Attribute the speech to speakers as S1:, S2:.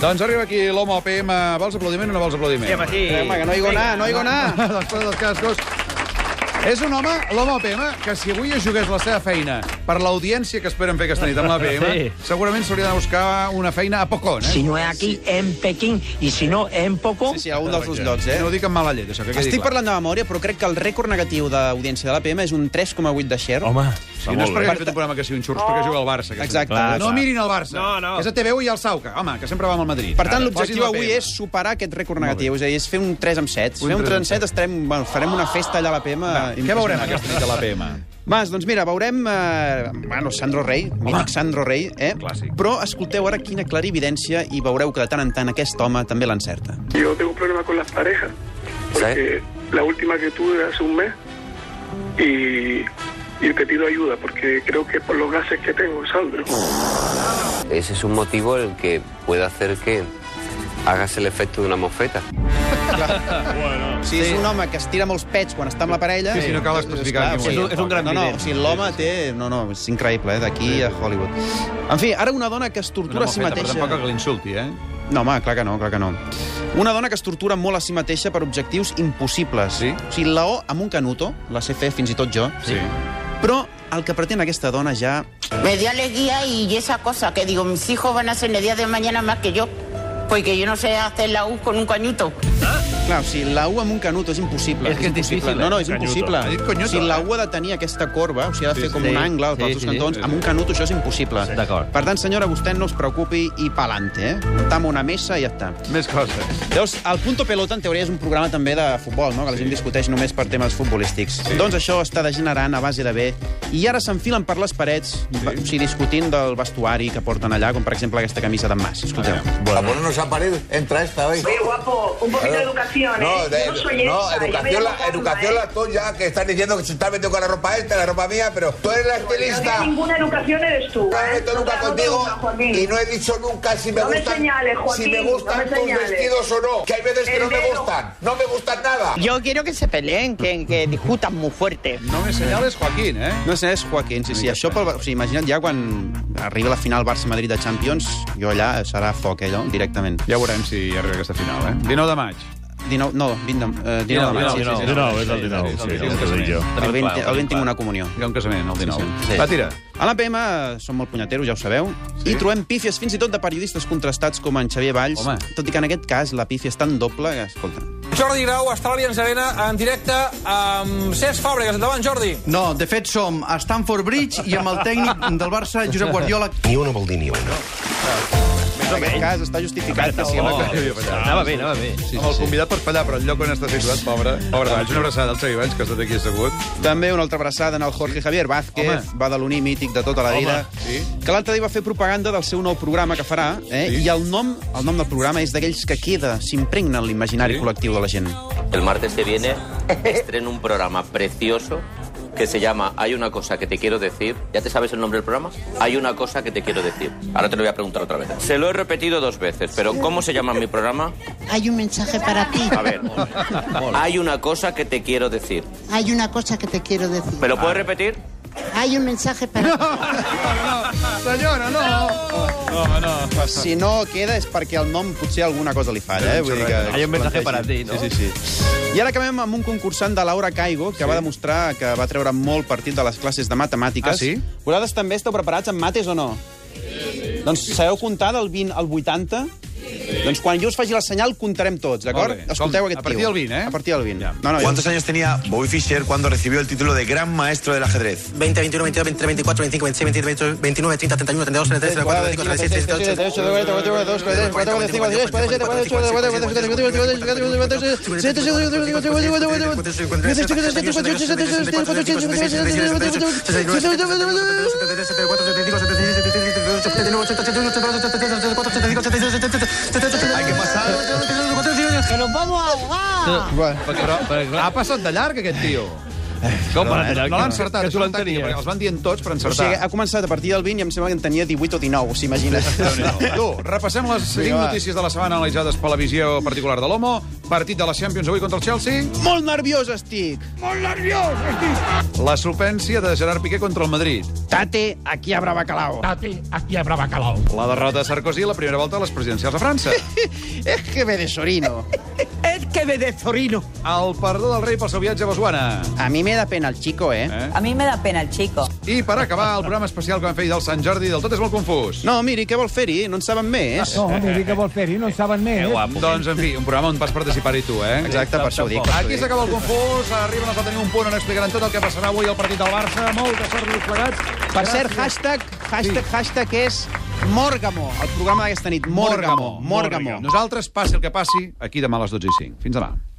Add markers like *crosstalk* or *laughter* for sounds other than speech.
S1: Doncs arriba aquí l'home al PM. Vols aplaudiment o no vols aplaudiment? Ah,
S2: Sí, home, sí.
S3: Eh, home, que no hi go anar, no hi go anar.
S1: *laughs* Després dels cascos. És un home, l'home OPM, que si avui es jugués la seva feina per l'audiència que esperen fer aquesta nit amb l'OPM, sí.
S2: Sí.
S1: segurament s'hauria de buscar una feina a Pocón, eh?
S4: Si no es aquí, en Pekín. Y si no, en Poco.
S3: Sí, sí, algun dels dos llocs, eh?
S1: No ho dic amb mala llet, això, que quedi
S3: Estic
S1: clar.
S3: parlant de memòria, però crec que el rècord negatiu d'audiència de l'APM és un 3,8 de share.
S2: Home,
S1: Si no és perquè hem fet un programa que sigui un xurros, perquè juga al Barça. Que
S3: Exacte.
S2: Clar,
S1: No
S2: clar.
S1: mirin el Barça.
S2: No, no.
S1: És a TVU i al Sauca, home, que sempre va amb el Madrid.
S3: Per tant,
S1: Ara,
S3: l'objectiu
S1: posin
S3: avui
S1: l'APM.
S3: és superar aquest rècord negatiu, és a dir, és fer un 3 amb 7.
S1: Un
S3: Fer un
S1: 3
S3: 3
S1: amb
S3: amb 7 estarem, bueno, farem una festa allà a l'APM. eh,
S1: Què veurem aquesta nit a l'APM?
S3: Mas, doncs mira, veurem... Eh, bueno, Sandro Rey, mític Sandro Rey, eh?
S1: Clàssic.
S3: Però escolteu ara quina clarividència i veureu que de tant en tant aquest home també l'encerta.
S5: Yo tengo un problema con las parejas. Porque la última que tuve hace un mes y, y te pido ayuda porque creo que por los gases que tengo, Sandro.
S6: Ese es un motivo el que puede hacer que hagas el efecto de una mofeta.
S3: O sigui, és un home que es tira molts pets quan està amb la parella...
S1: Sí, sí, no cal especificar
S3: Esclar,
S1: qui
S3: o sigui,
S1: guanya. És
S2: un- és un gran
S3: No, no,
S2: vident.
S3: o sigui, l'home té... No, no, és increïble, eh, d'aquí a Hollywood. En fi, ara una dona que es tortura
S1: Una
S3: a si
S1: mofeta, però
S3: mateixa...
S1: tampoc que l'insulti, eh?
S3: No, home, clar que no, clar que no. Una dona que es tortura molt a si mateixa per objectius impossibles.
S1: Sí?
S3: O sigui, la O amb un canuto, la sé fer fins i tot jo,
S1: Sí.
S3: però el que pretén aquesta dona ja...
S7: Me dio alegría y esa cosa que digo, mis hijos van a ser el día de mañana más que yo, porque yo no sé hacer la U con un cañuto.
S3: Clar, o sigui, la U amb un canuto és impossible.
S2: És que és
S3: impossible.
S2: difícil, eh,
S3: No, no, és
S2: un canuto.
S3: impossible.
S1: Ha dit conyuto,
S3: o sigui, la
S1: eh?
S3: U ha de tenir aquesta corba, o sigui, ha de fer com
S2: sí.
S3: un angle
S2: Sí,
S3: sí, pels
S2: sí,
S3: sí, cantons.
S1: sí, sí.
S3: Amb un canuto això és impossible.
S2: Sí. D'acord.
S3: Per tant, senyora, vostè no es preocupi i pa'lante, eh? Muntem una mesa i ja està.
S1: Més coses.
S3: Llavors, el Punto Pelota, en teoria, és un programa també de futbol, no? que la gent discuteix només per temes futbolístics. Sí. Doncs això està degenerant a base de bé, i ara s'enfilen per les parets, sí. o sigui, discutint del vestuari que porten allà, com per exemple aquesta camisa d'en Mas. Escolteu.
S8: A ponernos a parir, entra esta hoy.
S9: Oye, guapo, un poquito de educación, ¿eh?
S8: No, de-
S9: Yo no soy
S8: no,
S9: esa, yo me
S8: educación,
S9: llamo
S8: la,
S9: Juanma,
S8: educación
S9: ¿eh?
S8: la tuya, que estás diciendo que se está metiendo con la ropa esta, la ropa mía, pero tú eres la
S9: No tienes
S8: estilista.
S9: ninguna educación eres tú.
S8: No me
S9: ¿eh?
S8: meto nunca
S9: No te
S8: contigo
S9: gusta, Joaquín.
S8: y no he dicho nunca si me
S9: No me
S8: gustan,
S9: señales, Joaquín,
S8: si me
S9: no me
S8: gustan tus
S9: señales.
S8: vestidos o no. Que hay veces que
S9: El
S8: no me
S9: dedo.
S8: gustan, no me gustan nada.
S10: Yo quiero que se peleen, que, que discutan muy fuerte.
S1: No me senyales Joaquín, eh?
S3: No sé, és Joaquín, sí, sí. Això pel... O sigui, imagina't ja quan arriba la final Barça-Madrid de Champions, jo allà serà foc, eh, allò, directament.
S1: Ja veurem si arriba aquesta final, eh? 19 de maig.
S3: 19, no, 20 de, eh, 19 de maig. Sí, sí, sí, sí.
S2: és el 19, sí, el que dic jo.
S3: El 20, el 20 tinc una comunió.
S1: Hi ha un casament, el 19.
S3: Sí,
S1: Va, tira.
S3: A l'APM eh, som molt punyeteros, ja ho sabeu, sí? i trobem pífies fins i tot de periodistes contrastats com en Xavier Valls,
S1: Home.
S3: tot i que en aquest cas la pífia és tan doble que, escolta...
S11: Jordi Grau està a l'Aliança Arena en directe amb Cesc Fàbregas. Endavant, Jordi.
S4: No, de fet som a Stamford Bridge i amb el tècnic del Barça, Josep Guardiola.
S3: En aquest cas està justificat. Que sí, home, que-
S2: Anava bé, anava bé.
S1: Oh, Sí, sí, el convidat per fallar, però el lloc on està situat, pobre. Pobre Valls, una abraçada al Xavi Valls, que ha estat aquí assegut.
S3: També una altra abraçada en el Jorge Javier Vázquez,
S1: Home.
S3: Home. badaloní mític de tota la vida,
S1: sí.
S3: que l'altre dia va fer propaganda del seu nou programa que farà, eh?
S1: Sí.
S3: i el nom el nom del programa és d'aquells que queda, s'impregna en l'imaginari
S1: Sí.
S3: sí. col·lectiu de la gent.
S6: El martes que viene estreno un programa precioso que se llama Hay una cosa que te quiero decir. ¿Ya te sabes el nombre del programa? Hay una cosa que te quiero decir. Ahora te lo voy a preguntar otra vez. Se lo he repetido dos veces, pero ¿cómo se llama mi programa?
S7: Hay un mensaje para ti.
S6: A ver. Hay una cosa que te quiero decir.
S7: Hay una cosa que te quiero decir.
S6: ¿Me lo puedes repetir?
S7: Hay un mensaje para ti.
S1: Senyora, no! No, no.
S3: Si no queda és perquè el nom potser alguna cosa li falla, eh?
S1: Doncs
S3: Vull dir que...
S2: Hay un mensaje para ti, no?
S3: Sí, sí, sí. I ara acabem amb un concursant de Laura Caigo, que sí. va demostrar que va treure molt partit de les classes de matemàtiques.
S1: Ah, sí?
S3: Vosaltres també esteu preparats amb mates o no? Sí. Doncs sabeu comptar del 20 al 80? Sí. Doncs quan jo us faci el senyal, comptarem tots, d'acord?
S1: Molt bé.
S3: Escolteu
S1: Com?
S3: aquest
S1: A partir
S3: tio.
S1: del 20, eh?
S3: A partir del 20. Ja. No, no, jo...
S8: años tenía Bobby Fischer cuando recibió el título de gran maestro del ajedrez?
S4: 20, 21, 22, 23, 24, 25, 26, 27, 28, 29, 30, 31, 32, 33, 34, 35, 36, 37, 38,
S10: ¡Que nos vamos a ahogar!
S1: Però, però ha passat de llarg, aquest tio.
S2: Com
S3: Perdona,
S2: va?
S3: eh?
S1: No l'ha encertat, això l'han tenia, perquè els van dient tots per
S3: O
S2: eh,
S3: sigui,
S1: encertar.
S3: ha començat a partir del 20 i em sembla que en tenia 18 o 19, s'imagina.
S1: Tu, repassem les 5
S3: va.
S1: notícies de la setmana analitzades per la visió particular de l'Homo. Partit de la Champions avui contra el Chelsea.
S3: Molt nerviós estic. Molt nerviós estic.
S1: La solvència de Gerard Piqué contra el Madrid.
S3: Tate, aquí habrá bacalao.
S12: Tate, aquí habrá bacalao.
S1: La derrota de Sarkozy a la primera volta de les presidencials de
S3: *laughs*
S1: França.
S3: Es que me desorino.
S12: es que me desorino.
S1: El perdó del rei pel seu viatge a Botswana.
S3: A mi me da pena el chico, eh? eh?
S13: A mi me da pena el chico.
S1: I per acabar, el programa especial que vam fer ahir del Sant Jordi del Tot és molt confús.
S3: No, miri, què vol fer-hi? No en saben més.
S12: No, miri que vol fer-hi,
S3: Eh,
S12: no en saben més.
S1: Doncs, en fi, un programa on vas participar-hi tu, eh?
S3: Exacte, per això ho dic. per això ho
S1: Aquí
S3: dic.
S1: s'acaba el confús, arriben els a tenir un punt on explicaran tot el que passarà avui al partit del Barça. Molta sort i plegats.
S3: Per cert, hashtag, hashtag, hashtag és Mòrgamo, el programa d'aquesta nit. Mòrgamo, Mòrgamo.
S1: Nosaltres, passi el que passi, aquí demà a les 12 i 5. Fins demà.